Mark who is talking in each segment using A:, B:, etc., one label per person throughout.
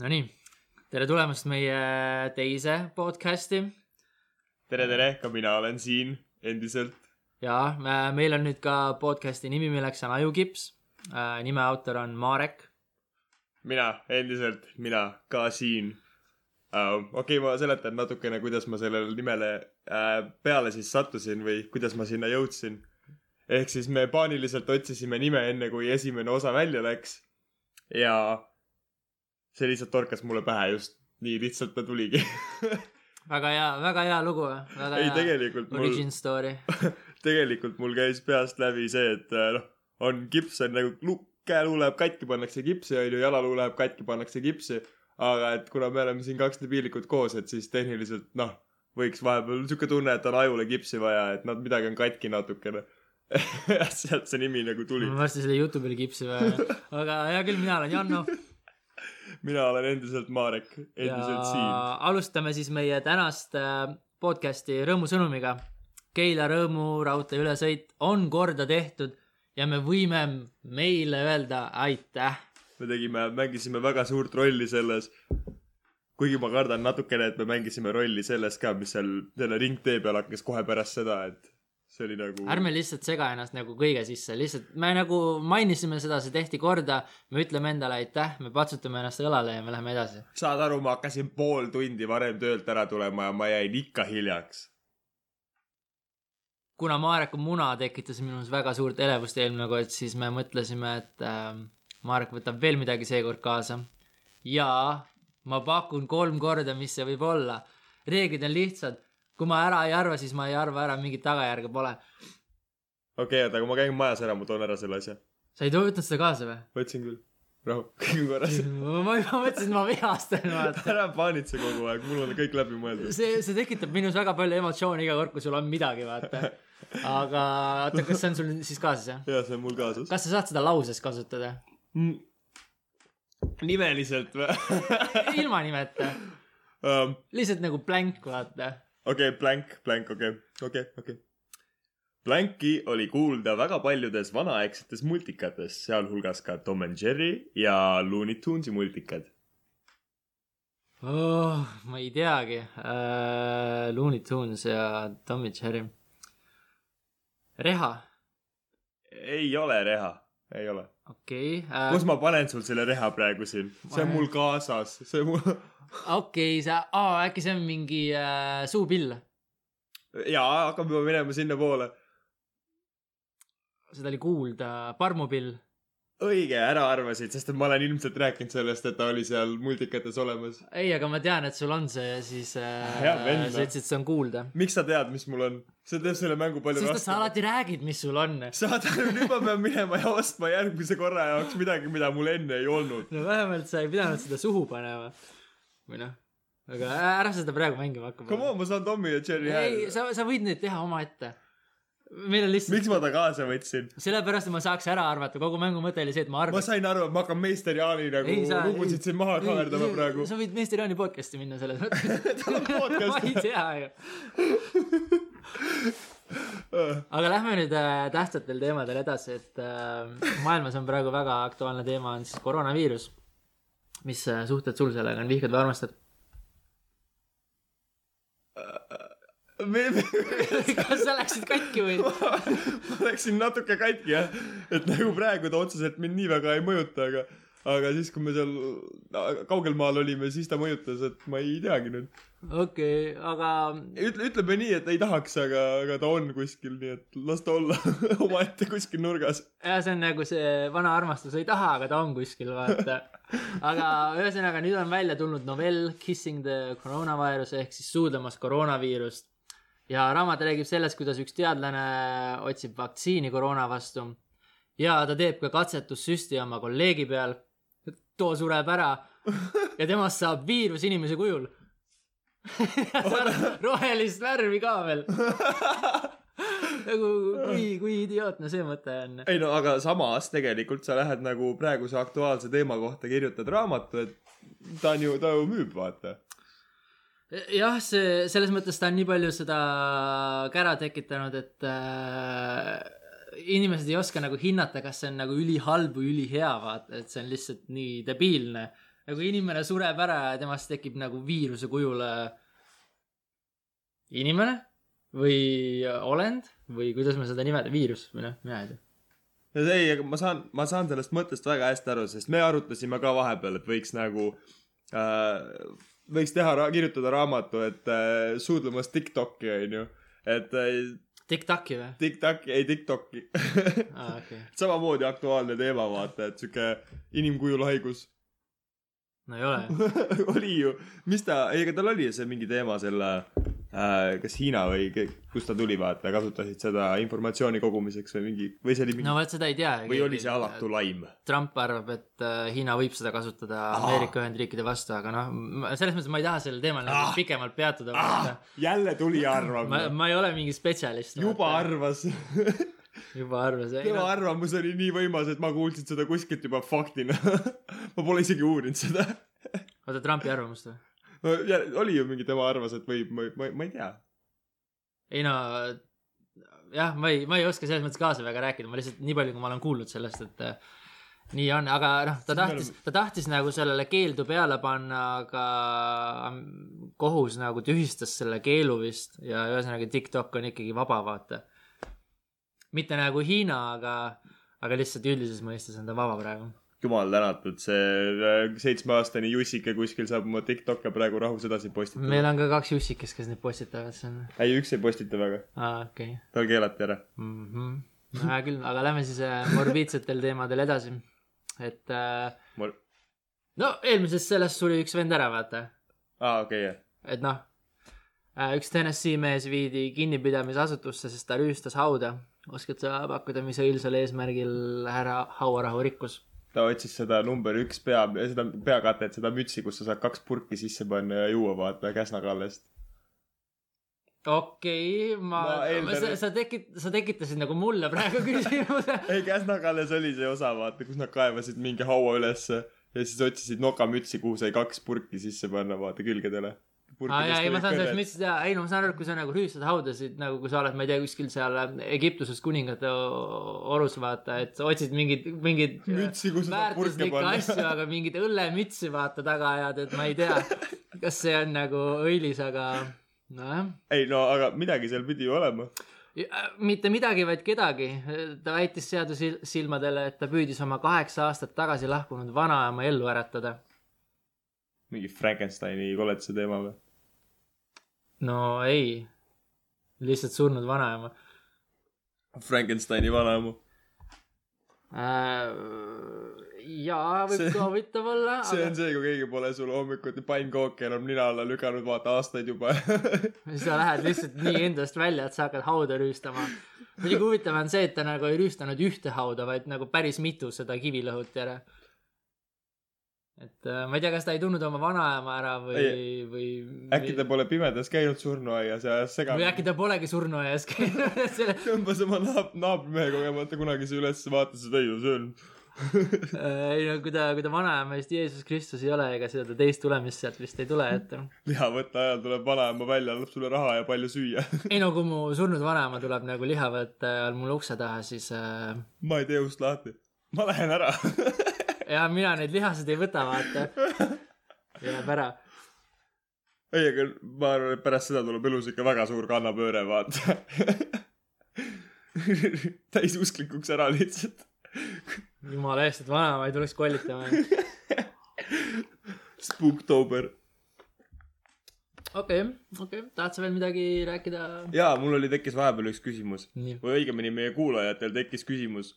A: Nonii , tere tulemast meie teise podcasti
B: tere , tere , ka mina olen siin endiselt .
A: ja me- meil on nüüd ka podcasti nimi , milleks on Ajukips . nime autor on Marek .
B: mina endiselt , mina ka siin uh, . okei okay, , ma seletan natukene , kuidas ma sellele nimele uh, peale siis sattusin või kuidas ma sinna jõudsin . ehk siis me paaniliselt otsisime nime enne , kui esimene osa välja läks . ja see lihtsalt torkas mulle pähe just , nii lihtsalt ta tuligi .
A: väga hea , väga hea lugu , väga
B: ei ,
A: hea
B: tegelikult mul
A: origin story .
B: tegelikult mul käis peast läbi see , et äh, noh , on kips on nagu lu- käeluu läheb katki , pannakse kipsi , on ju , jalaluu läheb katki , pannakse kipsi . aga et kuna me oleme siin kaks debiilikut koos , et siis tehniliselt noh , võiks vahepeal sihuke tunne , et on ajule kipsi vaja , et nad midagi on katki natukene . sealt see nimi nagu tuli
A: ma . varsti selle jutu peale kipsi vaja , aga hea küll , mina olen Janno
B: mina olen endiselt Marek , endiselt siin .
A: alustame siis meie tänast äh, podcasti rõõmusõnumiga . Keila Rõõmu raudtee ülesõit on korda tehtud ja me võime meile öelda aitäh
B: me tegime , mängisime väga suurt rolli selles . kuigi ma kardan natukene , et me mängisime rolli selles ka , mis seal selle ringtee peal hakkas kohe pärast seda , et see oli nagu .
A: ärme lihtsalt sega ennast nagu kõige sisse , lihtsalt me nagu mainisime seda , see tehti korda , me ütleme endale aitäh , me patsutame ennast õlale ja me läheme edasi .
B: saad aru , ma hakkasin pool tundi varem töölt ära tulema ja ma jäin ikka hiljaks .
A: kuna Mareku muna tekitas minus väga suurt elevust eelmine kord , siis me mõtlesime , et ähm, Marek võtab veel midagi seekord kaasa . ja ma pakun kolm korda , mis see võib olla . reeglid on lihtsad , kui ma ära ei arva , siis ma ei arva ära , mingit tagajärge pole .
B: okei okay, , oota , aga ma käin majas ära , ma toon ära selle asja .
A: sa ei võtnud seda kaasa või ?
B: võtsin küll . rahu , kõik on korras .
A: ma ma juba mõtlesin , et ma vihastan vaata .
B: ära paanitse kogu aeg , mul on kõik läbi mõeldud .
A: see , see tekitab minus väga palju emotsioone iga kord , kui sul on midagi , vaata . aga oota , kas see on sul siis kaasas , jah ?
B: ja see on mul kaasas .
A: kas sa saad seda lauses kasutada ?
B: nimeliselt või ? Um,
A: ilma nimeta ,
B: okei
A: lihtsalt nagu blank , vaata .
B: okay, , blank , blank , okei okay. , okei okay, , okei okay. . Blanki oli kuulda väga paljudes vanaaegsetes multikates , sealhulgas ka Tom and Jerry ja Looney Tunes'i multikad .
A: Oh, ma ei teagi uh, . Looney Tunes ja Tom ja Jerry . reha ,
B: ei ole reha , ei ole
A: okei äh, okay,
B: kus . ma panen sul selle reha praegu siin ? see on mul kaasas , see mul
A: okei , sa oh, , äkki see on mingi uh, suupill ?
B: jaa , hakkame juba minema sinnapoole .
A: seda oli kuulda , parmupill .
B: õige , ära arvasid , sest et ma olen ilmselt rääkinud sellest , et ta oli seal multikates olemas .
A: ei , aga ma tean , et sul on see ja siis
B: Hea
A: uh,
B: vend,
A: sa ütlesid , see on kuulda .
B: miks sa tead , mis mul on ? see teeb selle mängu palju
A: sest et sa
B: raskemaks .
A: alati räägid , mis sul on .
B: saad aru , nüüd ma pean minema ja ostma järgmise korra jaoks midagi , mida mul enne ei olnud .
A: no vähemalt sa ei pidanud seda suhu panema . või noh , aga ära seda praegu mängima
B: Come
A: hakka .
B: on , ma saan Tommy ja Jerry
A: ei ,
B: hääle .
A: sa , sa võid neid teha omaette . meil on lihtsalt ,
B: miks ma ta kaasa võtsin ?
A: sellepärast , et ma saaks ära arvata , kogu mängu mõte oli see , et ma
B: ma
A: arvan .
B: sain aru , et ma hakkan meister Jaani nagu
A: Ei, sa-
B: lugusid siin maha kaardama praegu .
A: sa võid Meister Jaani podcast'i minna selles mõttes .
B: Tal on podcast.
A: ma ei tea ju . aga lähme nüüd äh, tähtsatel teemadel edasi , et äh, maailmas on praegu väga aktuaalne teema on siis koroonaviirus . mis äh, suhted sul sellega on , vihkad või armastad ?
B: me , me ,
A: kas sa läksid katki või ?
B: ma läksin natuke katki jah , et nagu praegu ta otseselt mind nii väga ei mõjuta , aga , aga siis , kui me seal äh, kaugel maal olime , siis ta mõjutas , et ma ei teagi nüüd .
A: okei okay, , aga
B: ütle , ütleme nii , et ei tahaks , aga , aga ta on kuskil , nii et las ta olla omaette kuskil nurgas .
A: jah , see on nagu see vana armastus ei taha , aga ta on kuskil , vaata . aga ühesõnaga , nüüd on välja tulnud novell Kissing the Coronavirus ehk siis suudlemas koroonaviirust . ja raamat räägib sellest , kuidas üks teadlane otsib vaktsiini koroona vastu ja ta teeb ka katsetussüsti oma kolleegi peal . too sureb ära ja temast saab viirus inimese kujul . rohelist värvi ka veel . nagu kui , kui idiootne see mõte on .
B: ei no aga samas tegelikult sa lähed nagu praeguse aktuaalse teema kohta kirjutad raamatu , et ta on ju , ta ju müüb , vaata .
A: jah , see selles mõttes ta on nii palju seda kära tekitanud , et äh, inimesed ei oska nagu hinnata , kas see on nagu ülihalb või ülihea , vaata , et see on lihtsalt nii debiilne . ja kui inimene sureb ära ja temast tekib nagu viiruse kujul äh, inimene või olend või kuidas me seda nimetame , viirus või noh , mina ei tea .
B: no see ei , aga ma saan , ma saan sellest mõttest väga hästi aru , sest me arutasime ka vahepeal , et võiks nagu äh, , võiks teha , kirjutada raamatu , et äh, suudlemas Tiktoki onju , et äh,
A: Tic-Taci või ?
B: Tiktoki , ei Tiktoki
A: aa , okei .
B: samamoodi aktuaalne teema , vaata , et sihuke inimkujul haigus
A: no ei ole .
B: oli ju , mis ta , ei , aga tal oli see mingi teema selle äh, , kas Hiina või ke- kust ta tuli , vaata , kasutasid seda informatsiooni kogumiseks või mingi , või see oli mingi
A: no äh,
B: no, ,
A: vot , seda ei tea .
B: või oli see alatu ? laim ?
A: Trump arvab , et äh, Hiina võib seda kasutada
B: Aa.
A: Ameerika Ühendriikide vastu , aga noh , selles mõttes ma ei taha sellel teemal nagu
B: Ah.
A: pikemalt peatuda
B: Ah, . jälle tuli
A: äh, ma ,
B: arvama .
A: ma ei ole mingi spetsialist .
B: juba . arvas .
A: juba arvas , ei
B: tema
A: noh ,
B: arvamus oli nii võimas , et ma kuulsin seda kuskilt juba faktina . ma pole isegi uurinud seda .
A: oota Trumpi arvamust või ?
B: oli ju mingi , tema arvas , et võib , ma , ma , ma ei tea .
A: ei no jah , ma ei , ma ei oska selles mõttes kaasa väga rääkida , ma lihtsalt nii palju , kui ma olen kuulnud sellest , et äh, nii on , aga noh , ta
B: Siis me
A: tahtis , ta tahtis nagu sellele keeldu peale panna , aga mm, kohus nagu tühistas selle keelu vist ja ühesõnaga TikTok on ikkagi vaba , vaata . mitte nagu Hiina , aga , aga lihtsalt üldises mõistes on ta vaba praegu .
B: jumal tänatud , see äh, seitsmeaastane jussike kuskil saab oma TikTok'e praegu rahus edasi postitada .
A: meil on ka kaks jussikest , kes neid postitavad , see on ,
B: ei , üks ei postita väga ,
A: aa okei okay.
B: tal keelati ära .
A: mm . -hmm. no hea küll , aga lähme siis äh, morbiidsetel teemadel edasi , et äh,
B: mul ,
A: no eelmises selles suri üks vend ära , vaata ,
B: aa , Ah, okei , jah .
A: et noh , üks Tennessee mees viidi kinnipidamisasutusse , sest ta rüüstas hauda . oskad sa pakkuda , mis õilsal eesmärgil härra hauarahu rikkus ?
B: ta otsis seda number üks pea , seda peakatet , seda mütsi , kus sa saad kaks purki sisse panna ja juua , vaata , Käsna-Kallest .
A: okei okay, , ma,
B: Ma
A: ma ,
B: eeldan,
A: sa,
B: et-
A: sa tekit- , sa tekitasid nagu mulle praegu küsimuse .
B: ei , Käsna-Kalles oli see osa , vaata , kus nad kaevasid mingi haua ülesse ja siis otsisid nokamütsi , kuhu sai kaks purki sisse panna , vaata , külgedele .
A: aa Ah, jaa , ei ma saan sellest mütsist ja , ei no ma saan aru , et kui sa nagu rüüstad haudasid nagu , kui sa oled , ma ei tea , kuskil seal äh, Egiptuses kuningate o- orus vaata , et sa otsid mingeid , mingeid
B: Mütsi, kus sa saad purke
A: väärtuslikke
B: panna.
A: asju , aga mingeid õllemütsi vaata taga ajad , et ma ei tea , kas see on nagu õilis , aga nojah .
B: ei no aga midagi seal pidi ju olema .
A: mitte midagi , vaid kedagi . ta väitis seaduse sil- silmadele , et ta püüdis oma kaheksa aastat tagasi lahkunud vanaema ellu äratada .
B: mingi Frankensteini koleduse teema või ?
A: no ei , lihtsalt surnud vanaema
B: Frankensteini vanaemu .
A: Äh, jaa , võib
B: See-
A: ka huvitav olla ,
B: see
A: aga
B: on see , kui keegi pole sul hommikuti pannkooki enam nina alla lükanud , vaata aastaid juba .
A: siis sa lähed lihtsalt nii endast välja , et sa hakkad hauda rüüstama . muidugi huvitav on see , et ta nagu ei rüüstanud ühte hauda , vaid nagu päris mitu seda kivi lõhuti ära . et äh, ma ei tea , kas ta ei tundnud oma vanaema ära või , või
B: äkki ta pole pimedas käinud surnuaias ja ajas
A: või
B: segamini
A: äkki ta polegi surnuaias käinud , et selle
B: tõmbas oma naab- , naabrimehe kogemata kunagi see üles , vaatas , et ei no see on
A: Äh, ei no kui ta , kui ta vanaema vist Jeesus Kristus ei ole , ega seda ta teist tulemist sealt vist ei tule , et
B: lihavõtte ajal tuleb vanaema välja , annab sulle raha ja palju süüa .
A: ei no kui mu surnud vanaema tuleb nagu lihavõtte ajal mul ukse taha , siis äh,
B: ma ei tee ust lahti , ma lähen ära .
A: ja mina neid lihaseid ei võta , vaata . jääb ära .
B: ei , aga ma arvan , et pärast seda tuleb elus ikka väga suur kannapööre , vaata . täisusklikuks ära lihtsalt .
A: jumala eest , et vanaema ei tuleks kollitama . okei
B: Spooktober .
A: okay, , okei okay. , tahad sa veel midagi rääkida ?
B: jaa , mul oli , tekkis vahepeal üks küsimus
A: nii ,
B: või õigemini meie kuulajatel tekkis küsimus ,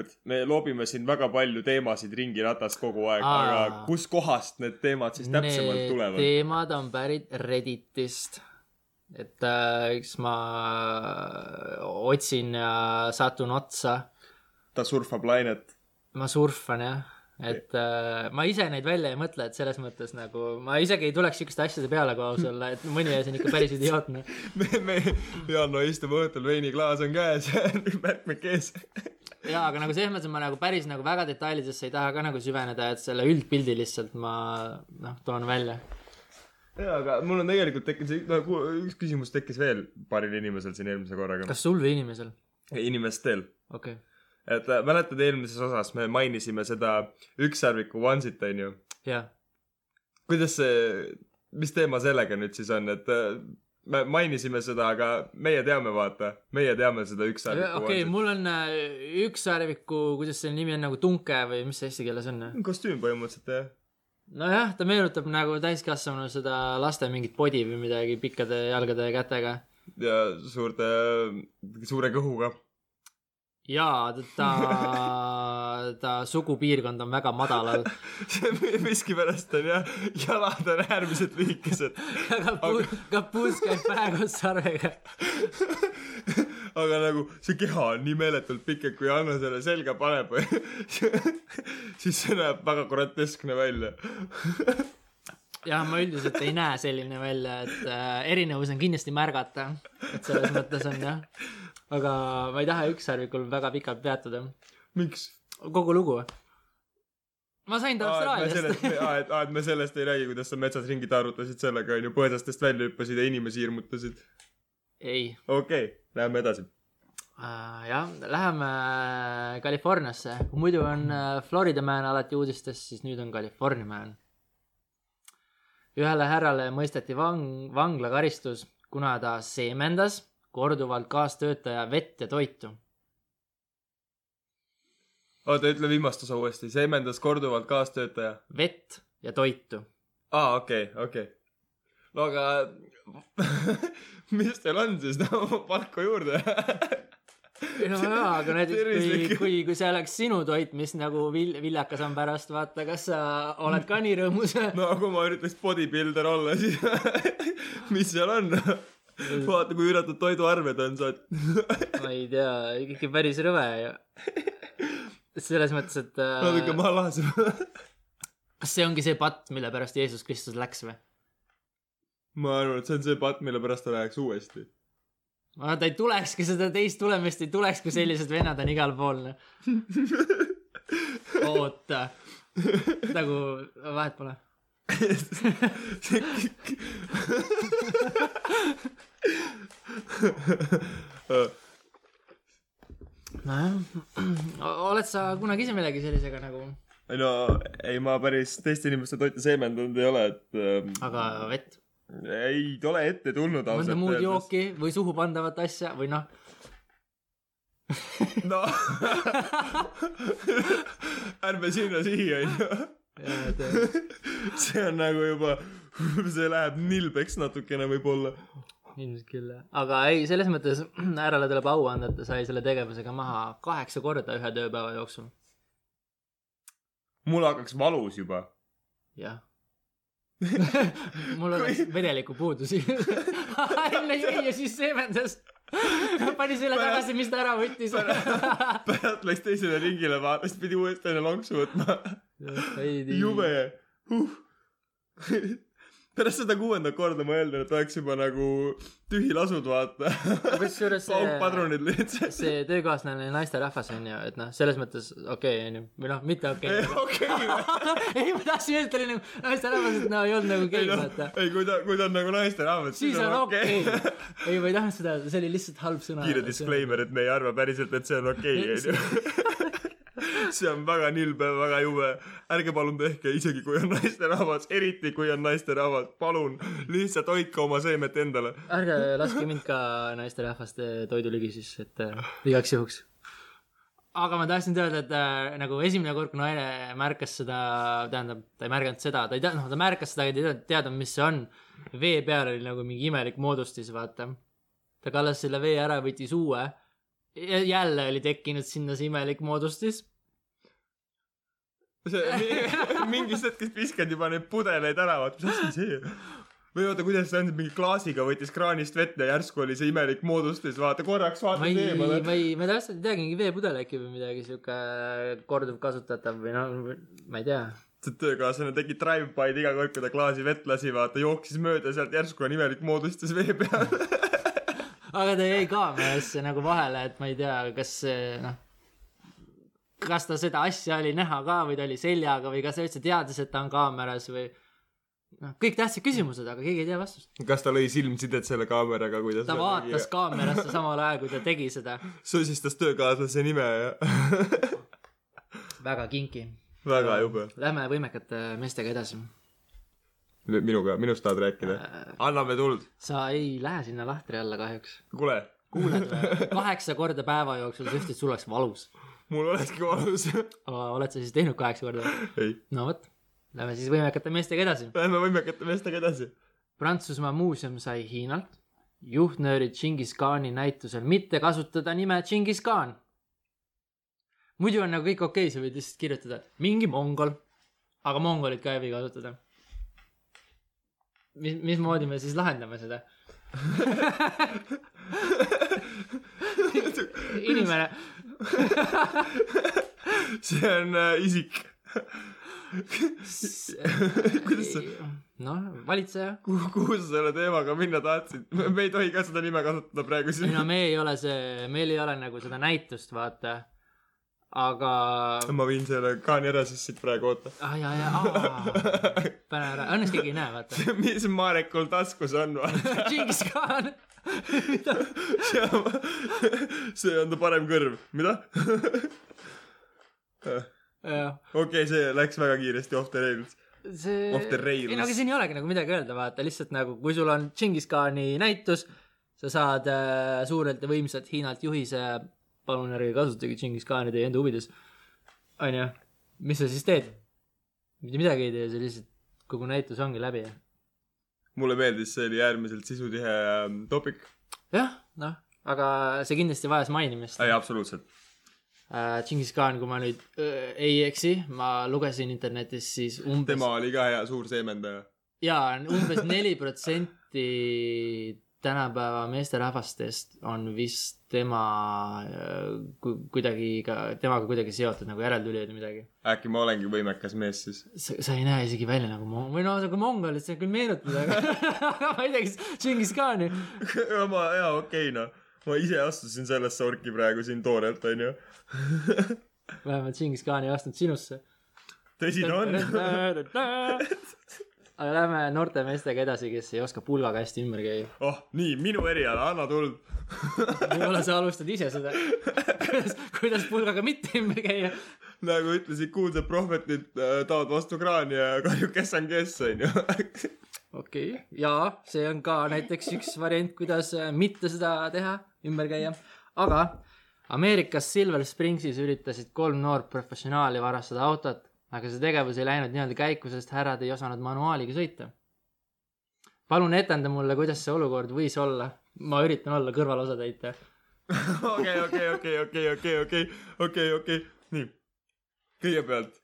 B: et me loobime siin väga palju teemasid ringi ratast kogu aeg ,
A: Aa.
B: aga kuskohast need teemad siis täpsemalt
A: need
B: tulevad ?
A: teemad on pärit Redditist . et äh, eks ma äh, otsin ja satun otsa
B: ta surfab lainet .
A: ma surfan jah , et äh, ma ise neid välja ei mõtle , et selles mõttes nagu ma isegi ei tuleks siukeste asjade peale , kui aus olla , et mõni asi on ikka päris idiootne .
B: me , me , Janno istub õhtul , veiniklaas on käes , märkmed ees .
A: jaa , aga nagu selles mõttes ma nagu päris nagu väga detailidesse ei taha ka nagu süveneda , et selle üldpildi lihtsalt ma noh , toon välja .
B: jaa , aga mul on tegelikult tekkinud see , no üks küsimus tekkis veel paaril inimesel siin eelmise korraga .
A: kas sul või inimesel ?
B: inimestel .
A: okei okay. ,
B: et äh, mäletad , eelmises osas me mainisime seda ükssarviku Onesit , onju
A: jaa ,
B: kuidas see , mis teema sellega nüüd siis on , et äh, me mainisime seda , aga meie teame , vaata , meie teame seda
A: okei
B: ükssarviku
A: okay, , mul on äh, ükssarviku , kuidas selle nimi on nagu tunke või mis see eesti keeles on ?
B: kostüüm põhimõtteliselt jah .
A: nojah , ta meenutab nagu täiskasvanu seda laste mingit podi või midagi pikkade jalgade ja kätega .
B: ja suurte , suure kõhuga .
A: jaa , ta , ta sugupiirkond on väga madalal .
B: miskipärast on jah , jalad on äärmiselt lühikesed .
A: kapuus , kapuus käib praegu sarvega .
B: aga nagu see keha on nii meeletult pikk , et kui Anna selle selga paneb , siis see näeb väga groteskne välja .
A: jah , ma üldiselt ei näe selline välja , et äh, erinevus on kindlasti märgata . et selles mõttes on jah . aga ma ei taha ükssarvikul väga pikalt peatuda .
B: miks ?
A: kogu lugu . ma sain ta
B: aa , et me
A: Austraaliast .
B: sellest , aa , et , aa , et me sellest ei räägi , kuidas sa metsas ringi tarrutasid sellega , onju , põõsastest välja hüppasid ja inimesi hirmutasid .
A: ei
B: okei okay, , läheme edasi .
A: Äh, jah , läheme Californiasse , kui muidu on äh, Florida man alati uudistes , siis nüüd on California man . ühele härrale mõisteti vang- , vanglakaristus , kuna ta seemendas korduvalt kaastöötaja vett ja toitu .
B: oota , ütle viimast osa uuesti , seemendas korduvalt kaastöötaja .
A: vett ja toitu .
B: aa , okei , okei . no aga mis teil on siis , no palku juurde .
A: no jaa , aga näiteks kui ,
B: Tervislik.
A: kui , kui see oleks sinu toit , mis nagu vil- , viljakas on pärast , vaata , kas sa oled ka nii rõõmus no. ?
B: no kui ma üritaks bodybuilder olla , siis mis seal on ? vaata , kui üüratud toiduarved on , sa oled
A: ma ei tea , ikkagi päris rõve ju . selles mõttes , et äh,
B: natuke maha lahasema .
A: kas see ongi see patt , mille pärast Jeesus Kristus läks või ?
B: ma arvan , et see on see patt , mille pärast ta läheks uuesti .
A: ma arvan , ta ei tulekski , seda teist tulemist ei tuleks , kui sellised vennad on igal pool . oota , nagu vahet pole . nojah , oled sa kunagi ise millegi sellisega nagu ,
B: no ei , ma päris teiste inimeste toitu seemendanud ei ole , et ähm,
A: aga vett ,
B: ei ole ette tulnud
A: mõnda
B: ausalt
A: muud . jooki või suhu pandavat asja või noh ,
B: no ärme sinna siia onju , see on nagu juba , see läheb nilbeks natukene võib-olla .
A: ilmselt küll jah , aga ei , selles mõttes härrale tuleb au anda , et ta sai selle tegevusega maha kaheksa korda ühe tööpäeva jooksul ,
B: mul hakkaks valus juba .
A: jah mul oleks vedeliku puudusi enne jõi ja siis seemendas pani selle tagasi , mis ta ära võttis
B: pärast läks teisele ringile vaata , siis pidi uuesti enne lonksu võtma .
A: jube
B: jube huh. . pärast seda kuuendat korda ma eeldan , et oleks juba nagu tühi lasud , vaata .
A: kusjuures see-
B: paukpadrunid lihtsalt .
A: see töökaaslane oli naisterahvas onju , et noh , selles mõttes okei onju , või noh , mitte okei okay, .
B: okei ,
A: ei , ma tahtsin öelda , ta oli nagu naisterahvas , et no ei olnud nagu
B: ei
A: gei ,
B: noh ,
A: vaata .
B: ei kui ta , kui ta on nagu naisterahvas ,
A: siis on okei . ei , ma ei tahtnud seda , see oli lihtsalt halb sõna .
B: kiire disclaimer , et me ei arva päriselt , et see on okei , onju . see on väga nilbe , väga jube . ärge palun tehke , isegi kui on naisterahvas , eriti kui on naisterahvas , palun lihtsalt hoidke oma seemet endale .
A: ärge laske mind ka naisterahvaste toiduligi siis , et äh, igaks juhuks . aga ma tahtsin öelda , et äh, nagu esimene kord , kui naine märkas seda , tähendab , ta ei märganud seda , ta ei teadnud , noh , ta märkas seda , aga ta ei teadnud- teadnud , mis see on . vee peal oli nagu mingi imelik moodustis , vaata . ta kallas selle vee ära , võttis uue . jälle oli tekkinud sinna see imelik moodustis .
B: see mingist hetkest viskad juba neid pudeleid ära , vaata , mis asi see on ? või oota , kuidas see on , mingi klaasiga võttis kraanist vett ja järsku oli see imelik moodustis , vaata korraks
A: ma ei
B: vaatasid , eemale .
A: ma ei , ma täpselt ei teagi , mingi veepudel äkki või midagi siuke korduvkasutatav või noh , ma ei tea
B: see töökaaslane tegi drive-by'd iga kord , kui ta klaasi vett lasi , vaata jooksis mööda sealt , järsku on imelik moodustis vee peal .
A: aga ta jäi kaamerasse nagu vahele , et ma ei tea , kas see noh , kas ta seda asja oli näha ka või ta oli seljaga või kas ta üldse teadis , et ta on kaameras või noh , kõik tähtsad küsimused , aga keegi ei tea vastust .
B: kas ta lõi silmsidet selle kaameraga , kuidas
A: ta vaatas kaamerasse samal ajal , kui ta tegi seda .
B: susistas töökaaslase nime ja
A: väga kinki .
B: väga jube .
A: Lähme võimekate meestega edasi .
B: nüüd minuga , minust tahad rääkida ?
A: Äh.
B: anname tuld .
A: sa ei lähe sinna lahtri alla kahjuks .
B: kuule ,
A: kuuled või ? kaheksa korda päeva jooksul , sest et sul oleks valus .
B: mul olekski valus .
A: oled sa siis teinud kaheksa korda või ?
B: ei ,
A: no vot , lähme siis võimekate meestega edasi .
B: lähme võimekate meestega edasi .
A: Prantsusmaa muuseum sai Hiinalt juhtnöörid Genghis Khani näitusel mitte kasutada nime Genghis Khan . muidu on nagu kõik okei okay, , sa võid lihtsalt kirjutada et mingi mongol , aga mongolit ka ei või kasutada . mis , mismoodi me siis lahendame seda ? inimene ,
B: see on äh, isik . Kuidas sa-
A: noh , valitseja .
B: kuhu , kuhu sa selle teemaga minna tahtsid ? me ei tohi ka seda nime kasutada praegu
A: ei
B: siin
A: no . me ei ole see , meil ei ole nagu seda näitust , vaata . aga ,
B: ma viin selle kaani ära siis siit praegu , oota .
A: ah jaa , jaa , pane ära , õnneks keegi ei näe , vaata .
B: mis Marekul taskus on , vaata .
A: Genghis Khan .
B: see on , see on ta parem kõrv . mida ? okei , see läks väga kiiresti off the rails .
A: see .
B: Off the rails.
A: ei no aga siin ei olegi nagu midagi öelda , vaata lihtsalt nagu , kui sul on Genghis Khani näitus , sa saad äh, suurelt ja võimsalt Hiinalt juhise , palun ärge kasutage Genghis Khani teie enda huvides . onju , mis sa siis teed ? mitte midagi ei tee , sa lihtsalt , kogu näitus ongi läbi .
B: mulle meeldis , see oli äärmiselt sisutihe ähm, topik .
A: jah , noh , aga see kindlasti vajas mainimist .
B: ei , absoluutselt .
A: Äh, Genghis Khan , kui ma nüüd öö, ei eksi , ma lugesin internetis siis umbes
B: tema oli ka hea suur seemendaja .
A: jaa , umbes neli protsenti tänapäeva meesterahvastest on vist tema äh, ku- kuidagi ka , temaga kuidagi seotud nagu järeltulijad või midagi .
B: äkki ma olengi võimekas mees siis ?
A: sa , sa ei näe isegi välja nagu mong- , või noh , nagu mongolid , sa küll meenutad , aga ma ei tea , kas Genghis Khani .
B: ma , jaa , okei okay, noh . ma ise astusin sellesse orki praegu siin toorelt , onju .
A: vähemalt Genghis Khan ei astunud sinusse .
B: tõsi ta on .
A: aga lähme noorte meestega edasi , kes ei oska pulgaga hästi ümber käia .
B: oh , nii , minu eriala , anna tuld .
A: võib-olla sa alustad ise seda , kuidas , kuidas pulgaga mitte ümber käia
B: nagu ütlesid kuulsad prohvetid , taod vastu kraani ja karju , kes on kes , onju .
A: okei okay. , jaa , see on ka näiteks üks variant , kuidas äh, mitte seda teha , ümber käia , aga Ameerikas Silver Springsis üritasid kolm noort professionaali varastada autot , aga see tegevus ei läinud nii-öelda käiku , sest härrad ei osanud manuaaliga sõita . palun etenda mulle , kuidas see olukord võis olla , ma üritan olla kõrvalosatäitja .
B: okei , okei , okei , okei , okei , okei , okei , okei , nii . kõigepealt ,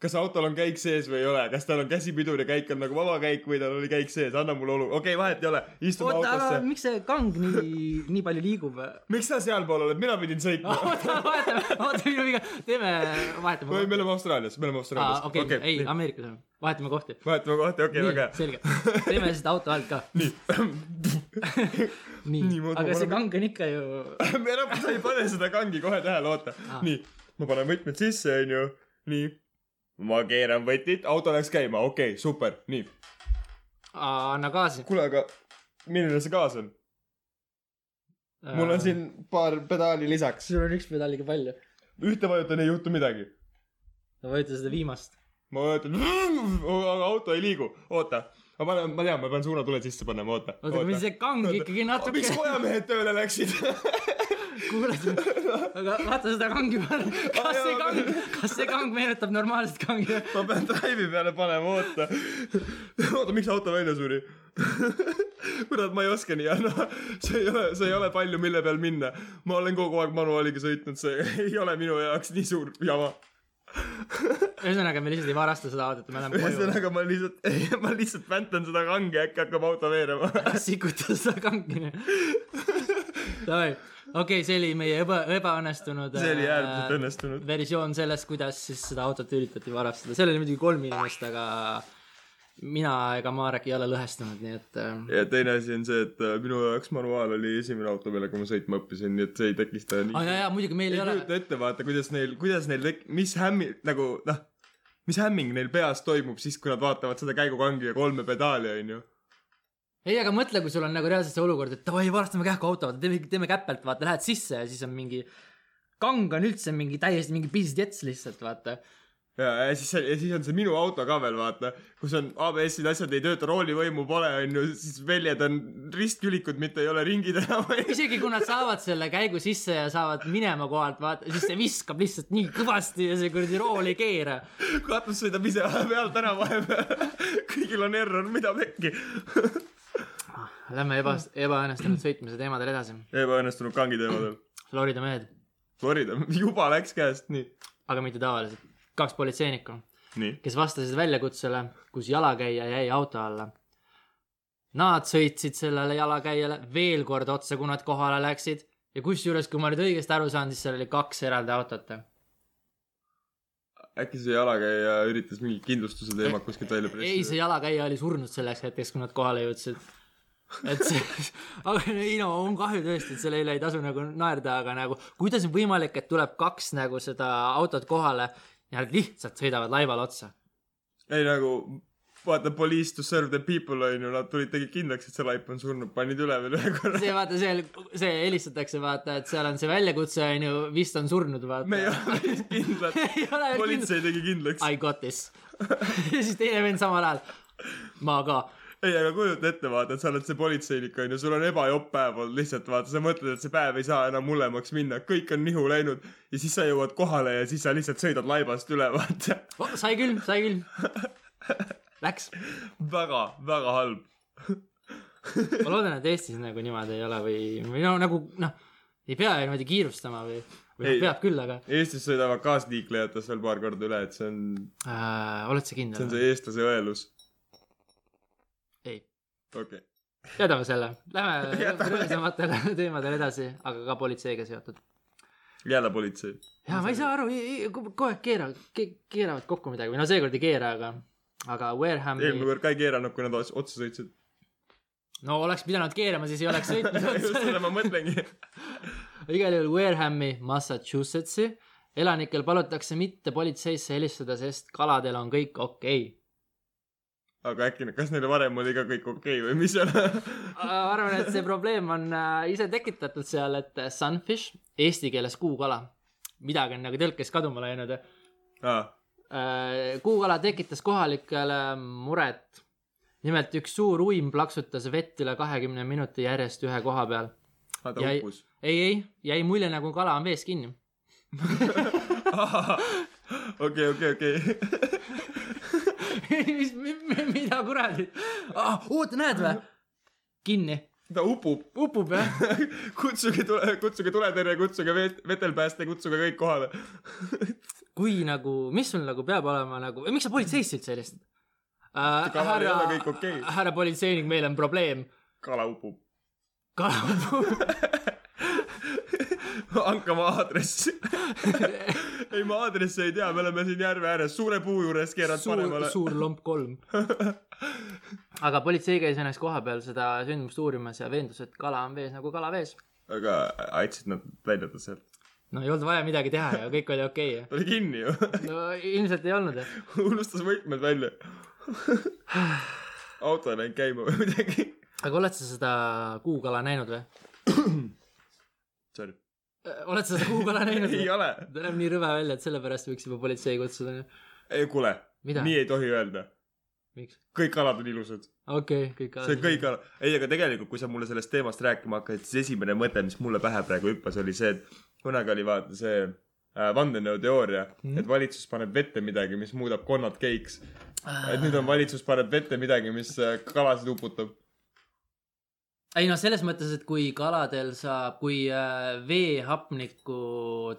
B: kas autol on käik sees või ei ole , kas tal on käsipidur ja käik on nagu vabakäik või tal oli käik sees , anna mulle olu , okei okay, , vahet ei ole , istume
A: oota , aga
B: autosse .
A: miks see kang nii , nii palju liigub ?
B: miks sa sealpool oled , mina pidin sõitma no. .
A: oota , vahetame , oota , minu viga , teeme , vahetame
B: või me
A: kohti .
B: oleme Austraalias , me oleme Austraalias .
A: Ah, okei , ei , Ameerikas on , vahetame kohti .
B: vahetame kohti , okei ,
A: nii
B: väga , hea .
A: selge , teeme seda auto alt ka .
B: nii .
A: nii
B: Niimoodi ,
A: aga see
B: paneme-
A: kang on ikka ju ,
B: me enam , sa ei pane seda kangi kohe tähele , oota
A: Aa.
B: ah. . nii , ma panen võtmed sisse , onju . nii . ma keeran võtit , auto läks käima , okei okay, , super , nii .
A: anna gaasi .
B: kuule , aga milline see gaas on ? mul
A: Äh.
B: on . siin paar pedaali lisaks .
A: sul on üks pedaal liiga palju .
B: ühte vajutan , ei juhtu midagi .
A: ma vajutan seda viimast .
B: ma vajutan , aga auto ei liigu , oota . ma panen , ma tean , ma pean suunatuled sisse panema , oota .
A: oota , meil see kang ikkagi natuke
B: miks , kojamehed tööle läksid ?
A: kuulad , aga vaata seda kangi peal .
B: Aa,
A: kas see
B: jaa,
A: kang
B: aga- ,
A: kas see kang meenutab normaalset kangi ?
B: ma pean drive'i peale panema , oota . oota , miks auto välja suri ? kurat , ma ei oska nii , no see ei ole , see ei ole palju , mille peal minna . ma olen kogu aeg manuaaliga sõitnud , see ei ole minu jaoks nii suur jama .
A: ühesõnaga , me lihtsalt ei varasta seda autot , me läheme koju .
B: ühesõnaga ma lihtsalt , ma lihtsalt väntan seda kange , äkki hakkab auto veerema .
A: sikuta seda kangi . Davai , okei , see oli meie eba , ebaõnnestunud .
B: see oli äärmiselt . õnnestunud .
A: versioon sellest , kuidas siis seda autot üritati varastada , seal oli muidugi kolm inimest , aga mina ega Marek ei ole lõhestunud , nii et äh,
B: ja teine asi on see , et äh, minu jaoks manuaal oli esimene auto , millega ma sõitma õppisin , nii et see ei tekita nii
A: aa jaa , jaa , muidugi meil
B: ei
A: ei ole ,
B: kujuta ette , vaata , kuidas neil , kuidas neil tek- , mis hämmi- , nagu noh , mis hämming neil peas toimub siis , kui nad vaatavad seda käigukangi ja kolme pedaali , onju .
A: ei , aga mõtle , kui sul on nagu reaalselt see olukord , et davai , varastame kähku auto , teeme , teeme käpelt , vaata , lähed sisse ja siis on mingi kang on üldse mingi täiesti mingi pizd jets lihtsalt , vaata .
B: ja , ja siis , ja siis on see minu auto ka veel vaata , kus on ABS-id , asjad ei tööta , roolivõimu pole onju , siis väljad on ristkülikud , mitte ei ole ringid enam .
A: isegi kui nad saavad selle käigu sisse ja saavad minema kohalt , vaata , siis see viskab lihtsalt nii kõvasti ja see kuradi rool ei keera .
B: katus sõidab ise pealt ära vahepeal . kõigil on error , mida pekki .
A: Lähme eba , ebaõnnestunud sõitmise teemadel edasi .
B: ebaõnnestunud kangi teemadel .
A: Florida mehed ,
B: Florida juba läks käest , nii ,
A: aga mitte tavaliselt , kaks politseinikku ,
B: nii .
A: kes vastasid väljakutsele , kus jalakäija jäi auto alla . Nad sõitsid sellele jalakäijale veel kord otsa , kui nad kohale läksid ja kusjuures , kui ma nüüd õigesti aru saan , siis seal oli kaks eraldi autot .
B: äkki see jalakäija üritas mingit kindlustuse teemat kuskilt välja
A: ei , see
B: pressida ?
A: jalakäija oli surnud selleks hetkeks , kui nad kohale jõudsid . et see , aga ei no on kahju tõesti , et selle üle ei tasu nagu naerda , aga nagu kuidas on võimalik , et tuleb kaks nagu seda autot kohale ja nad lihtsalt sõidavad laivale otsa .
B: ei nagu , vaata police to serve the people onju , nad tulid , tegid kindlaks , et see laip on surnud , panid üle veel ühe korra .
A: see vaata , see , see helistatakse vaata , et seal on see väljakutse on ju , vist on surnud vaata .
B: me ei ole päris kindlad .
A: ei ole veel kindel .
B: politsei tegi kindlaks .
A: I got this . ja siis teine vend samal ajal , ma ka
B: ei , aga kujuta ette , vaata , et sa oled see politseinik , onju , sul on ebajopp päev olnud lihtsalt , vaata , sa mõtled , et see päev ei saa enam hullemaks minna , kõik on nihu läinud ja siis sa jõuad kohale ja siis sa lihtsalt sõidad laibast üle , vaata .
A: oh, . sai küll , sai küll . Läks
B: väga , väga halb .
A: ma loodan , et Eestis nagu niimoodi ei ole või , või no nagu noh , ei pea ju niimoodi kiirustama või , või
B: Ei.
A: ei. peab küll , aga
B: Eestis sõidavad kaasliiklejatest veel paar korda üle , et see on ,
A: äh, oled sa
B: see on
A: kindel ?
B: see eestlase õelus .
A: ei ,
B: okei okay. ,
A: jätame selle , lähme
B: Jätame.
A: rõõmsamatele teemadele edasi , aga ka politseiga seotud .
B: jälle politsei .
A: ja ma ei saa aru , kogu aeg keeravad ke, , keeravad kokku midagi või no seekord ei keera , aga , aga
B: eelmine
A: Warehami ,
B: kord ka ei keeranud , kui nad os- otsa sõitsid .
A: no oleks pidanud keerama , siis ei oleks
B: just
A: sõitnud .
B: seda ma mõtlengi .
A: igal juhul Warehami , Massachusettsi elanikel palutakse mitte politseisse helistada , sest kaladel on kõik okei okay. .
B: aga äkki , kas neil varem oli ka kõik okei okay või mis seal ?
A: ma arvan , et see probleem on äh, ise tekitatud seal , et äh, sunfish , eesti keeles kuukala , midagi on nagu tõlkes kaduma läinud .
B: aa ,
A: kuukala Äh, tekitas kohalikele muret . nimelt üks suur uim plaksutas vett üle kahekümne minuti järjest ühe koha peal .
B: ta
A: Jäi-
B: uppus .
A: ei , ei , jäi mulje , nagu kala on vees kinni .
B: okei , okei , okei
A: mis , mida kuradi ah, ? oota , näed või ? kinni ,
B: ta upub .
A: upub jah ?
B: kutsuge tule , kutsuge tuletõrje , kutsuge vet- , vetelpääste , kutsuge kõik kohale .
A: kui nagu , mis sul nagu peab olema nagu , miks sa politseisse üldse helistad äh, ?
B: Kaval ei ole kõik okei.
A: härra politseinik , meil on probleem .
B: kala upub .
A: kala ,
B: hankame aadressi . ei , ma aadressi ei tea , me oleme siin järve ääres , suure puu juures keerad
A: suur
B: paremale ,.
A: suur lomp kolm . aga politsei käis ennast koha peal seda sündmust uurimas ja veendus , et kala on vees nagu kala vees .
B: aga aitasid nad välja ta sealt ?
A: no ei olnud vaja midagi teha ja kõik oli okei okay.
B: ta oli kinni ju .
A: no ilmselt ei olnud jah .
B: unustas võtmed välja . auto läinud käima või midagi .
A: aga oled sa seda kuukala näinud või ?
B: Sorry .
A: oled sa seda kuukala näinud
B: ei
A: või ?
B: ole .
A: ta näeb nii rõve välja , et sellepärast võiks juba politsei kutsuda .
B: ei , kuule ,
A: Mida?
B: nii ei tohi öelda .
A: miks ?
B: kõik kalad on ilusad .
A: okei okay, , kõik .
B: see on kõik , ei , aga tegelikult , kui sa mulle sellest teemast rääkima hakkasid , siis esimene mõte , mis mulle pähe praegu hüppas , oli see , et kunagi oli vaata see äh, vandenõuteooria mm , -hmm. et valitsus paneb vette midagi , mis muudab konnad geiks . et nüüd on valitsus paneb vette midagi , mis äh, kalasid uputab .
A: ei no selles mõttes , et kui kaladel saab , kui äh, veehapniku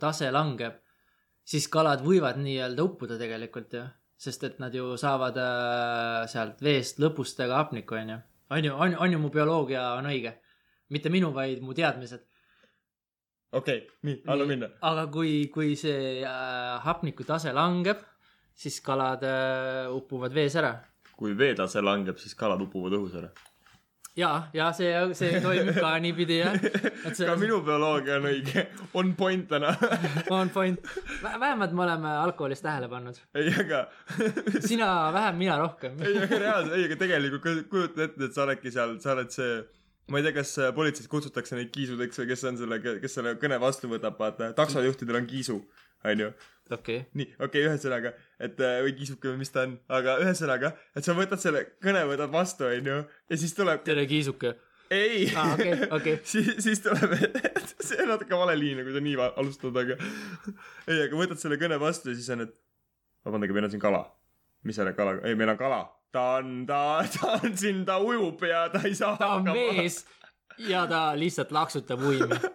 A: tase langeb , siis kalad võivad nii-öelda uppuda tegelikult ju , sest et nad ju saavad äh, sealt veest lõpustega hapnikku onju . on ju , on , on ju mu bioloogia on õige , mitte minu , vaid mu teadmised .
B: okei okay, , nii , anna minna .
A: aga kui , kui see äh, hapniku tase langeb , siis kalad äh, upuvad vees ära
B: kui veetase langeb , siis kalad upuvad õhus ära .
A: ja , ja see , see toimib ka niipidi jah .
B: ka minu bioloogia on õige , on point täna .
A: on point . vähemalt me oleme alkoholist tähele pannud .
B: ei , aga
A: sina vähem , mina rohkem .
B: ei , aga reaalselt , ei , aga tegelikult kui- kujuta ette , et sa oledki seal , sa oled see , ma ei tea , kas äh, politseist kutsutakse neid kiisudeks või kes on selle , kes selle kõne vastu võtab , vaata , taksojuhtidel on kiisu , onju .
A: okei okay. ,
B: nii , okei okay, , ühesõnaga , et äh, või kiisuke või mis ta on , aga ühesõnaga , et sa võtad selle kõne , võtad vastu , onju , ja siis tuleb ,
A: tere Kiisuke .
B: ei
A: Aa, Ah, okei, okei.
B: siis , siis tuleb , see on natuke vale liin , kui sa nii va- alustad , aga ei , aga võtad selle kõne vastu ja siis on , et vabandage , meil on siin kala . mis selle kalaga , ei , meil on kala , ta on , ta , ta on siin , ta ujub ja ta ei saa
A: ta on . mees ja ta lihtsalt laksutab uimi .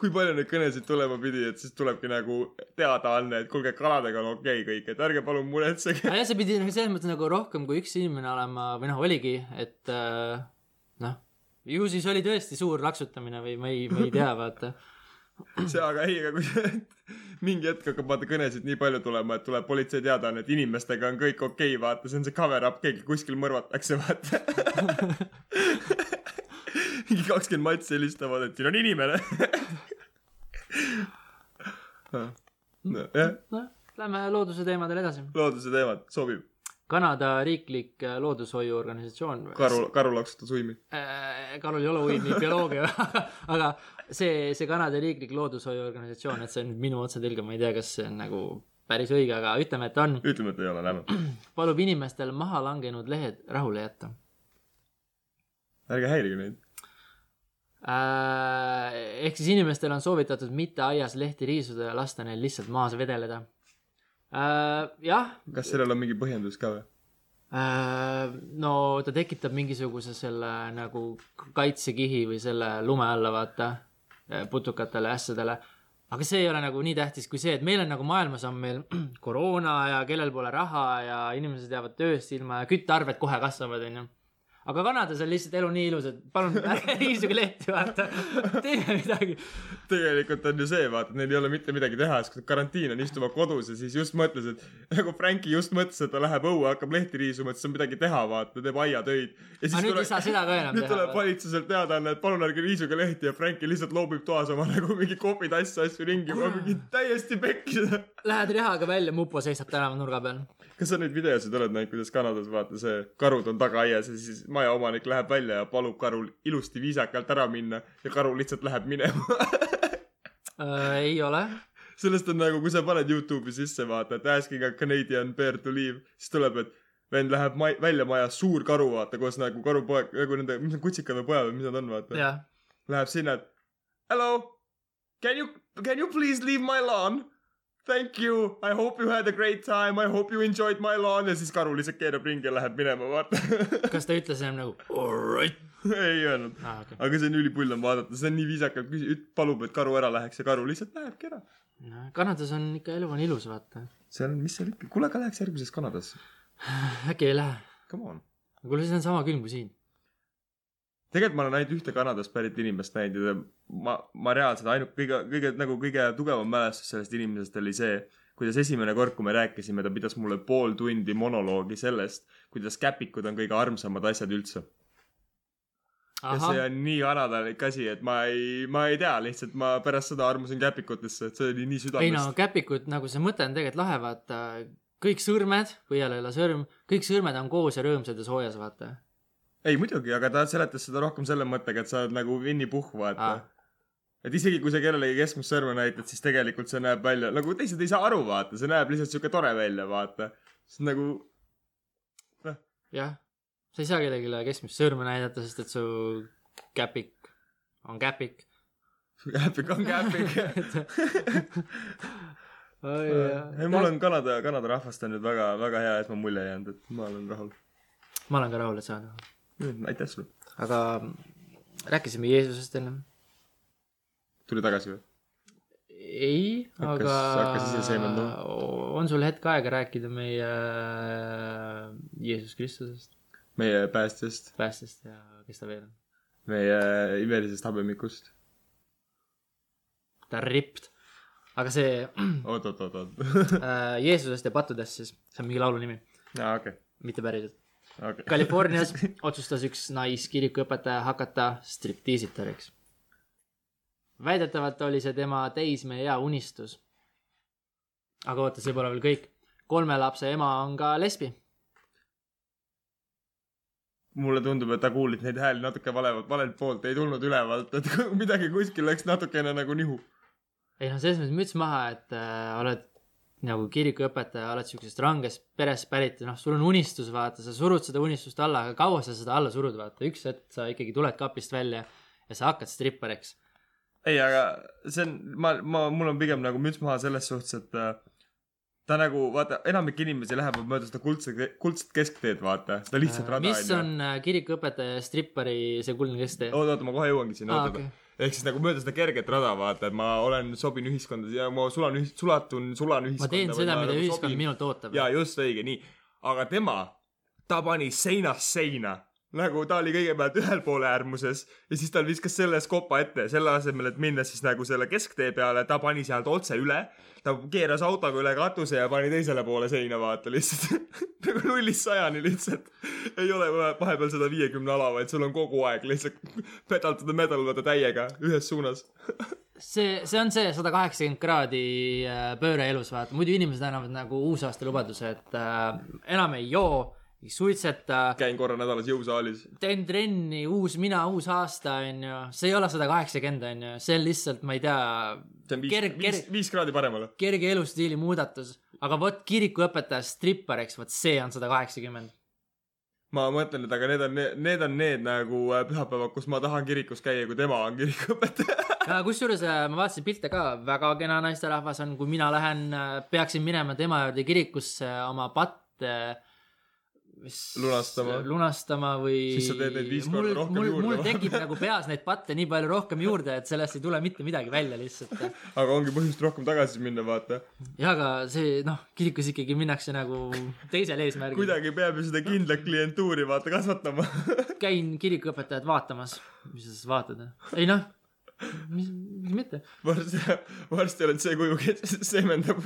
B: kui palju neid kõnesid tulema pidi , et siis tulebki nagu teadaanne , et kuulge , kaladega on okei okay kõik , et ärge palun muretsege .
A: nojah , see pidi nagu selles mõttes nagu rohkem kui üks inimene olema või noh , oligi , et äh, noh , ju siis oli tõesti suur laksutamine või ma ei , ma ei tea , vaata .
B: see aga ei , aga kui see mingi hetk hakkab vaata kõnesid nii palju tulema , et tuleb politsei teadaanne , et inimestega on kõik okei okay, , vaata , see on see cover up , keegi kuskil mõrvatakse , vaata . mingi kakskümmend matsi helistavad , et siin on inimene . nojah ,
A: noh , lähme looduse teemadel edasi .
B: looduse teemad , sobib .
A: Kanada riiklik äh, loodushoiuorganisatsioon .
B: karu , karu laksutas uimi .
A: Äh, Karol ei ole uimne bioloogia , aga see , see Kanada riiklik loodushoiuorganisatsioon , et see on minu otsetõlge , ma ei tea , kas see on nagu päris õige , aga ütleme , et on ,
B: ütleme , et ei ole , lähme .
A: palub inimestel maha langenud lehed rahule jätta
B: ärge häirige neid .
A: äh, . ehk siis inimestel on soovitatud mitte aias lehti riisuda ja lasta neil lihtsalt maas vedeleda äh, . jah
B: kas sellel on mingi põhjendus ka või ?
A: äh, , no ta tekitab mingisuguse selle nagu kaitsekihi või selle lume alla , vaata , putukatele , asjadele . aga see ei ole nagu nii tähtis kui see , et meil on nagu maailmas on meil koroona ja kellel pole raha ja inimesed jäävad tööst ilma ja küttearved kohe kasvavad , onju aga Kanadas on lihtsalt elu nii ilus , et palun ärge riisuge lehti , vaata , teeme midagi .
B: tegelikult on ju see , vaata , neil ei ole mitte midagi teha , siis kui karantiin on istuma kodus ja siis just mõtles , et nagu Franki just mõtles , et ta läheb õue , hakkab lehti riisuma , et siis on midagi teha , vaata , teeb aiatöid .
A: aga nüüd ei saa seda ka enam
B: nüüd
A: teha
B: tuleb . valitsuselt teadaanne , et palun ärge riisuge lehti ja Franki lihtsalt loobib toas oma nagu mingi kohvitass asju ringi , mingi täiesti pekkis .
A: Lähed rehaga välja , mupo seisab tänava nurga peal .
B: kas sa neid videosid oled näinud , kuidas Kanadas vaata see karud on tagaaias ja siis majaomanik läheb välja ja palub karul ilusti viisakalt ära minna ja karu lihtsalt läheb minema .
A: Äh, ei ole
B: sellest on nagu , kui sa paned Youtube'i sisse , vaata , et asking a Canadian bear to leave , siis tuleb , et vend läheb ma- , välja maja , suur karu , vaata , koos nagu karupoeg , nagu nende , mis need kutsikad või pojad või mis nad on , vaata .
A: jah ,
B: Läheb sinna , et hello , can you , can you please leave my lawn ? Thank you , I hope you had a great time , I hope you enjoyed my lawn ja siis karu lihtsalt keerab ringi ja läheb minema , vaata .
A: kas ta ütles enam nagu alright
B: ei öelnud .
A: ah, ? Okay.
B: aga see on ülipull on vaadata , see on nii viisakalt , palub , et karu ära läheks ja karu lihtsalt lähebki ära .
A: No, Kanadas on ikka elu on ilus , vaata .
B: seal on , mis seal ikka , kuule , aga läheks järgmiseks Kanadasse .
A: äkki ei lähe ?
B: Come on .
A: kuule , siin on sama külm kui siin .
B: tegelikult ma olen ainult ühte Kanadast pärit inimest näinud ja ta- ma , ma reaalselt ainult kõige , kõige nagu kõige tugevam mälestus sellest inimesest oli see , kuidas esimene kord , kui me rääkisime , ta pidas mulle pool tundi monoloogi sellest , kuidas käpikud on kõige armsamad asjad üldse . ja see
A: ahah ,
B: on nii kanadalik asi , et ma ei , ma ei tea , lihtsalt ma pärast seda armusin käpikutesse , et see oli nii
A: ei no
B: südamest .
A: käpikud , nagu see mõte on tegelikult lahe , vaata . kõik sõrmed , põhjal ei ole sõrm , kõik sõrmed on koos ja rõõmsad ja soojas , vaata .
B: ei muidugi , aga ta seletas seda rohkem selle mõttega , et sa oled nagu Winny Puhh , vaata
A: Ah.
B: et isegi kui sa kellelegi keskmist sõrme näitad , siis tegelikult see näeb välja nagu teised ei saa aru , vaata , see näeb lihtsalt siuke tore välja , vaata . see on nagu ,
A: jah , sa ei saa kellelegi keskmist sõrme näidata , sest et su käpik on käpik .
B: käpik on käpik . ei ,
A: ei
B: mul on Kanada , Kanada rahvast on nüüd väga , väga hea esmamulje jäänud , et ma olen rahul .
A: ma olen ka rahul , et sa oled .
B: aitäh sulle .
A: aga rääkisime Jeesusest ennem .
B: tuli tagasi või ?
A: ei ,
B: Hakkas-
A: aga
B: hakkas noh. ise seemendama.
A: on sul hetk aega rääkida meie äh, Jeesus Kristusest ,
B: meie päästjast ,
A: päästjast ja kes ta veel on ?
B: meie imelisest habemikust .
A: ta on ripped . aga see äh,
B: oot , oot , oot , oot .
A: Jeesusest ja pattudest siis , see on mingi laulu nimi ,
B: aa , okei ,
A: mitte päriselt .
B: okei .
A: Californias otsustas üks naiskirikuõpetaja hakata striptiisitariks . väidetavalt oli see tema teismeea unistus . aga oota , see pole veel kõik . kolme lapse ema on ka lesbi
B: mulle tundub , et ta kuulis neid hääli natuke valevalt , valelt poolt , ei tulnud ülevalt , et midagi kuskil läks natukene nagu nihu .
A: ei noh , selles mõttes müts maha , et äh, oled nagu kirikuõpetaja , oled siuksest rangest perest pärit ja noh , sul on unistus , vaata , sa surud seda unistust alla , aga kaua sa seda alla surud , vaata , üks hetk sa ikkagi tuled kapist välja ja sa hakkad strippariks .
B: ei , aga see on , ma , ma , mul on pigem nagu müts maha selles suhtes , et äh, ta nagu vaata , enamik inimesi läheb mööda seda kuldse , kuldset keskteed , vaata , seda lihtsat rada
A: mis on äh, kirikuõpetaja ja strippari see kuldne kesktee ?
B: oota , oota , ma kohe jõuangi sinna ,
A: Aa,
B: oota , oota . ehk siis nagu mööda seda kerget rada , vaata , et ma olen , sobin ühiskonda ja ma sulan , sulatun , sulan
A: ma
B: ühiskonda .
A: teen seda , mida ühiskond minult ootab .
B: nagu jaa , just õige , nii . aga tema , ta pani seinast seina . nagu ta oli kõigepealt ühel pool äärmuses ja siis tal viskas selles kopa ette , selle asemel , et minna siis nagu selle kesktee peale , ta pani sealt otse üle . ta keeras autoga üle katuse ja pani teisele poole seina , vaata lihtsalt . nagu nullist sajani lihtsalt . ei ole vaja vahepeal seda viiekümne ala , vaid sul on kogu aeg lihtsalt pedaldada , medaldada täiega ühes suunas .
A: see , see on see sada kaheksakümmend kraadi äh, pööre elus , vaata , muidu inimesed annavad nagu uusaastalubaduse , et äh, enam ei joo , ei suitseta ,
B: käin korra nädalas jõusaalis .
A: teen trenni , uus mina , uus aasta , onju . see ei ole sada kaheksakümmend , onju , see on lihtsalt , ma ei tea ,
B: see on
A: Kerg-
B: viis , viis ,
A: kerg-
B: viis kraadi paremale .
A: kerge elustiili muudatus . aga vot kirikuõpetajast strippariks , vot see on sada kaheksakümmend .
B: ma mõtlen , et aga need on , need on need nagu äh, pühapäevad , kus ma tahan kirikus käia , kui tema on kirikuõpetaja .
A: kusjuures äh, ma vaatasin pilte ka , väga kena naisterahvas on , kui mina lähen , peaksin minema tema juurde kirikusse äh, oma patte mis
B: Lunastama.
A: lunastama või
B: Siis sa teed neid viis korda
A: mul-
B: rohkem
A: mul-
B: juurde.
A: mul tekib nagu peas neid patte nii palju rohkem juurde , et sellest ei tule mitte midagi välja lihtsalt
B: aga ongi põhjust rohkem tagasi minna , vaata .
A: jaa , aga see noh , kirikus ikkagi minnakse nagu teisel eesmärgil .
B: kuidagi peab ju seda kindlat klientuuri , vaata , kasvatama .
A: käin kirikuõpetajat vaatamas , mis sa siis vaatad , ei noh , mis , miks mitte .
B: varsti , varsti oled see kuju , kes seemendab .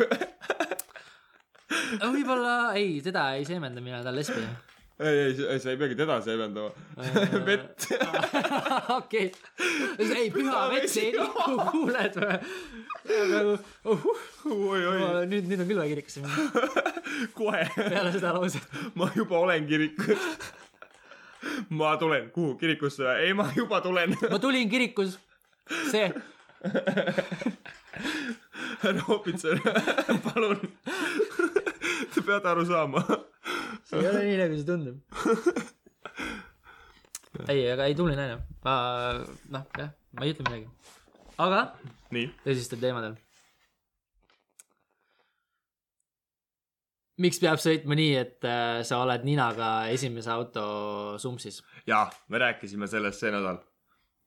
A: võib-olla ei , teda ei seemenda mina , ta on lesbi .
B: ei , ei , sa ei peagi teda seemendama
A: Äh, .
B: vett .
A: okei , ei püha vets ei liiku , kuuled või ? nagu ohuh ,
B: oi-oi ,
A: nüüd , nüüd on küll vaja kirikusse minna ,
B: kohe .
A: peale seda lauset .
B: ma juba olen kirikus . ma tulen , kuhu , kirikusse ? ei , ma juba tulen .
A: ma tulin kirikus , see ,
B: härra ohvitser , palun . Te peate aru saama .
A: see ei ole nii , nagu see tundub . ei , aga ei tubli naine , ma noh , jah , ma ei ütle midagi . aga
B: nii ,
A: tõsistel teemadel . miks peab sõitma nii , et äh, sa oled ninaga esimese auto sumpsis ?
B: jaa , me rääkisime sellest see nädal .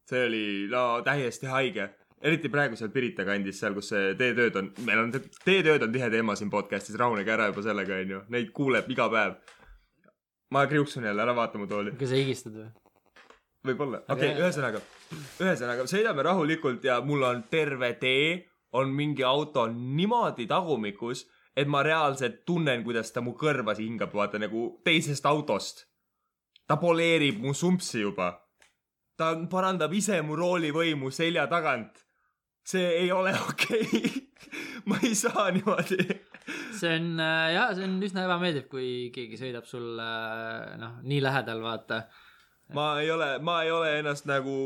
B: see oli no täiesti haige , eriti praegu seal Pirita kandis , seal , kus see teetööd on , meil on , teetööd on tihe teema siin podcast'is , rahunege ära juba sellega , onju , neid kuuleb iga päev . ma kriuksun jälle , ära vaata mu tooli .
A: kas sa higistad või ?
B: võib-olla , okei okay, , ühesõnaga , ühesõnaga sõidame rahulikult ja mul on terve tee , on mingi auto niimoodi tagumikus , et ma reaalselt tunnen , kuidas ta mu kõrvas hingab , vaata nagu teisest autost . ta poleerib mu sumpsi juba . ta parandab ise mu roolivõimu selja tagant . see ei ole okei okay. . ma ei saa niimoodi
A: see on äh, jah , see on üsna ebameeldiv , kui keegi sõidab sulle äh, noh , nii lähedal , vaata .
B: ma ei ole , ma ei ole ennast nagu ,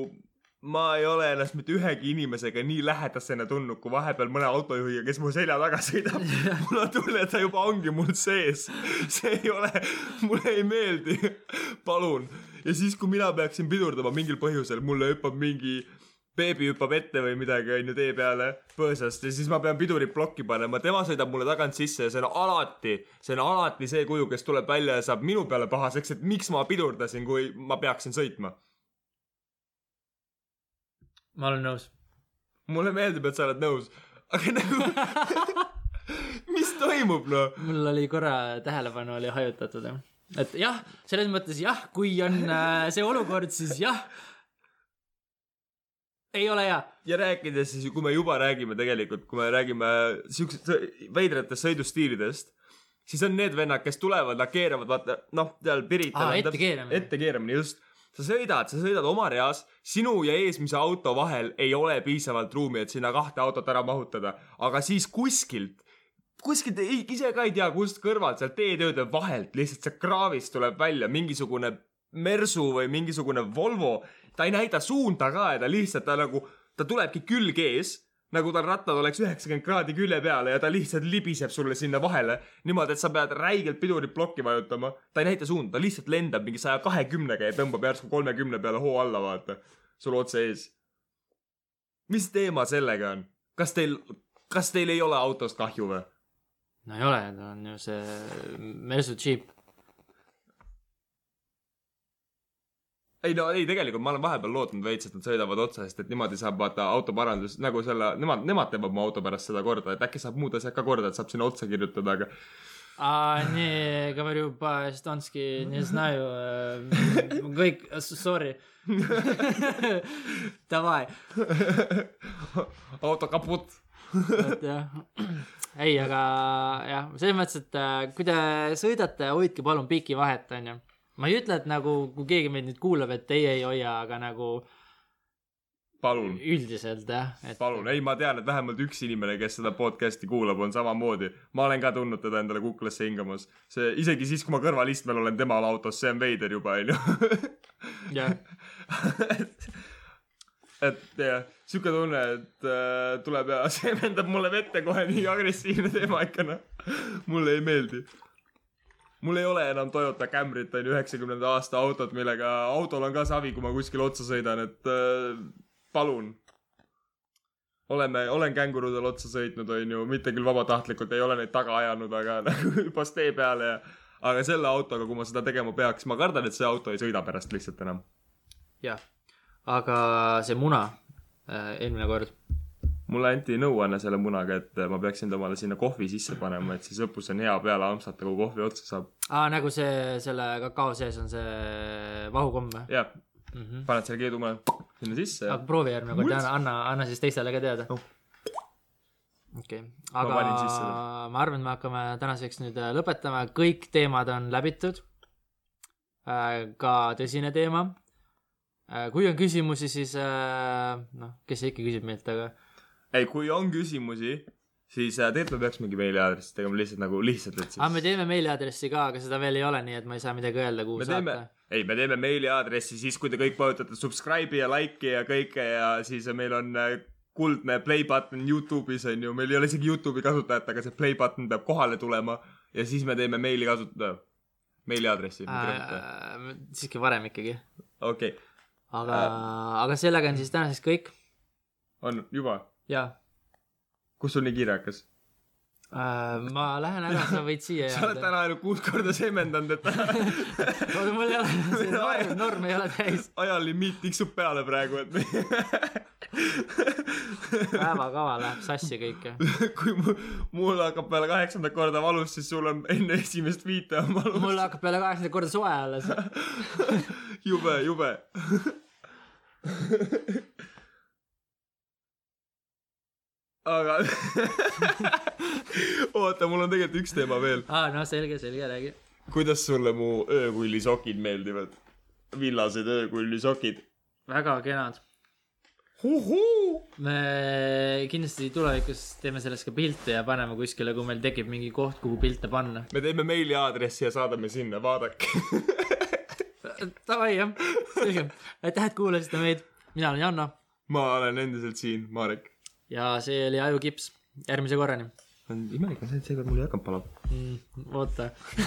B: ma ei ole ennast mitte ühegi inimesega nii lähedasena tundnud , kui vahepeal mõne autojuhiga , kes mu selja taga sõidab . mul on tunne , et ta juba ongi mul sees . see ei ole , mulle ei meeldi . palun . ja siis , kui mina peaksin pidurdama mingil põhjusel , mulle hüppab mingi beebi hüppab ette või midagi , onju , tee peale põõsast ja siis ma pean pidurid plokki panema , tema sõidab mulle tagant sisse ja see on alati , see on alati see kuju , kes tuleb välja ja saab minu peale pahaseks , et miks ma pidurdasin , kui ma peaksin sõitma .
A: ma olen nõus .
B: mulle meeldib , et sa oled nõus , aga nagu mis toimub noh ?
A: mul oli korra tähelepanu oli hajutatud , jah . et jah , selles mõttes jah , kui on äh, see olukord , siis jah . ei ole hea .
B: ja rääkides siis , kui me juba räägime tegelikult , kui me räägime siuksest veidratest sõidustiilidest , siis on need vennad , kes tulevad , nad keeravad , vaata noh , seal Pirital
A: Aa,
B: on
A: ette
B: täpselt-
A: keeramine.
B: ette keeramine , just . sa sõidad , sa sõidad oma reas , sinu ja eesmise auto vahel ei ole piisavalt ruumi , et sinna kahte autot ära mahutada , aga siis kuskilt kuskilt ei- ise ka ei tea , kust kõrvalt , sealt teetööde vahelt lihtsalt see kraavist tuleb välja mingisugune Mersu või mingisugune Volvo . ta ei näita suunda ka ja ta lihtsalt , ta nagu , ta tulebki külg ees , nagu tal rattad oleks üheksakümmend kraadi külje peale ja ta lihtsalt libiseb sulle sinna vahele niimoodi , et sa pead räigelt pidurit plokki vajutama . ta ei näita suunda , ta lihtsalt lendab mingi saja kahekümnega ja tõmbab järsku kolmekümne peale hoo alla , vaata . sul otse ees . mis teema sellega on ? kas teil , kas teil ei ole autost kahju või ?
A: no ei ole , ta on ju see Mersu džiip .
B: ei no ei , tegelikult ma olen vahepeal lootnud veits , et nad sõidavad otsa , sest et niimoodi saab vaata autoparandus nagu selle , nemad , nemad teevad mu auto pärast seda korda , et äkki saab muud asjad ka korda , et saab sinna otsa kirjutada , aga
A: А, не, говорю по-эстонски, не знаю. э, м, Гойк, э, с- sorry. Давай.
B: auto kaputt .
A: et jah , ei , aga jah , selles mõttes , et äh, kui te sõidate , hoidke palun piki vahet , onju . ma ei ütle , et nagu , kui keegi meid nüüd kuulab , et teie ei hoia , aga nagu
B: palun ,
A: üldiselt jah , et
B: palun , ei , ma tean , et vähemalt üks inimene , kes seda podcast'i kuulab , on samamoodi . ma olen ka tundnud teda endale kuklasse hingamas . see isegi siis , kui ma kõrvalistmel olen temal autos , see on veider juba , onju .
A: jah ,
B: et jah , siuke tunne , et äh, tuleb ja seemendab mulle vette kohe nii agressiivne teema ikka noh . mulle ei meeldi . mul ei ole enam Toyota Camryt , on ju , üheksakümnenda aasta autot , millega autol on ka savi , kui ma kuskil otsa sõidan , et äh, palun . oleme , olen kängurudel otsa sõitnud , on ju , mitte küll vabatahtlikult , ei ole neid taga ajanud , aga nagu hüppas tee peale ja aga selle autoga , kui ma seda tegema peaks , ma kardan , et see auto ei sõida pärast lihtsalt enam .
A: jah . aga see muna äh, eelmine kord ,
B: mulle anti nõuanne selle munaga , et ma peaksin tomale sinna kohvi sisse panema , et siis õppus on hea peale ampsata , kui kohvi otsa saab .
A: aa nagu see , selle kakao sees on see vahukomm või
B: jah ,
A: mm -hmm. ?
B: paned selle keedumune sinna sisse ja
A: aga Ah, proovi järgmine kord ja
B: Mult.
A: anna , anna , anna siis teistele ka teada
B: Oh. .
A: okei ,
B: Ma
A: aga
B: panin sisse
A: ma arvan , et me hakkame tänaseks nüüd äh, lõpetama , kõik teemad on läbitud . ka tõsine teema . kui on küsimusi , siis äh, noh , kes see ikka küsib meilt , aga
B: ei , kui on küsimusi , siis äh, tegelikult me peaks mingi meiliaadressi tegema lihtsalt nagu lihtsalt , et
A: ah, me
B: siis .
A: teeme meiliaadressi ka , aga seda veel ei ole , nii et ma ei saa midagi öelda , kuhu
B: me teeme
A: saata .,
B: ei , me teeme meiliaadressi siis , kui te kõik vajutate subscribe'i ja like'i ja kõike ja siis meil on äh, kuldne play button Youtube'is on ju , meil ei ole isegi Youtube'i kasutajat , aga see play button peab kohale tulema ja siis me teeme meili kasutaja , meiliaadressi .
A: Äh, siiski varem ikkagi ,
B: okei ,
A: aga äh. , aga sellega on siis tänaseks kõik
B: on juba
A: ja
B: kus sul nii kiire hakkas ?
A: äh, ma lähen ära , sa võid siia
B: sa oled
A: jääda .
B: täna ainult kuus korda seemendanud , et
A: oota , mul ei ole , see norm , norm ei ole täis .
B: ajalimiit tiksub peale praegu , et
A: päevakava läheb sassi kõik ju .
B: kui mu, mul hakkab peale kaheksandat korda valus , siis sul on enne esimest viite on valus .
A: mul hakkab peale kaheksakümmend korda soe alles .
B: jube , jube . aga oota , mul on tegelikult üks teema veel .
A: aa , no selge , selge , räägi .
B: kuidas sulle mu öökullisokid meeldivad ? villased öökullisokid .
A: väga kenad .
B: Huhuu!
A: me kindlasti tulevikus teeme sellest ka pilte ja paneme kuskile , kui meil tekib mingi koht , kuhu pilte panna .
B: me teeme meiliaadressi ja saadame sinna , vaadake .
A: Äh, Davai jah , selge . aitäh , et kuulasite meid . mina olen Janno
B: ma olen endiselt siin , Marek .
A: ja see oli Ajukips . järgmise korrani
B: imelik on see , et seekord mul jalg palab .
A: mm, . oota .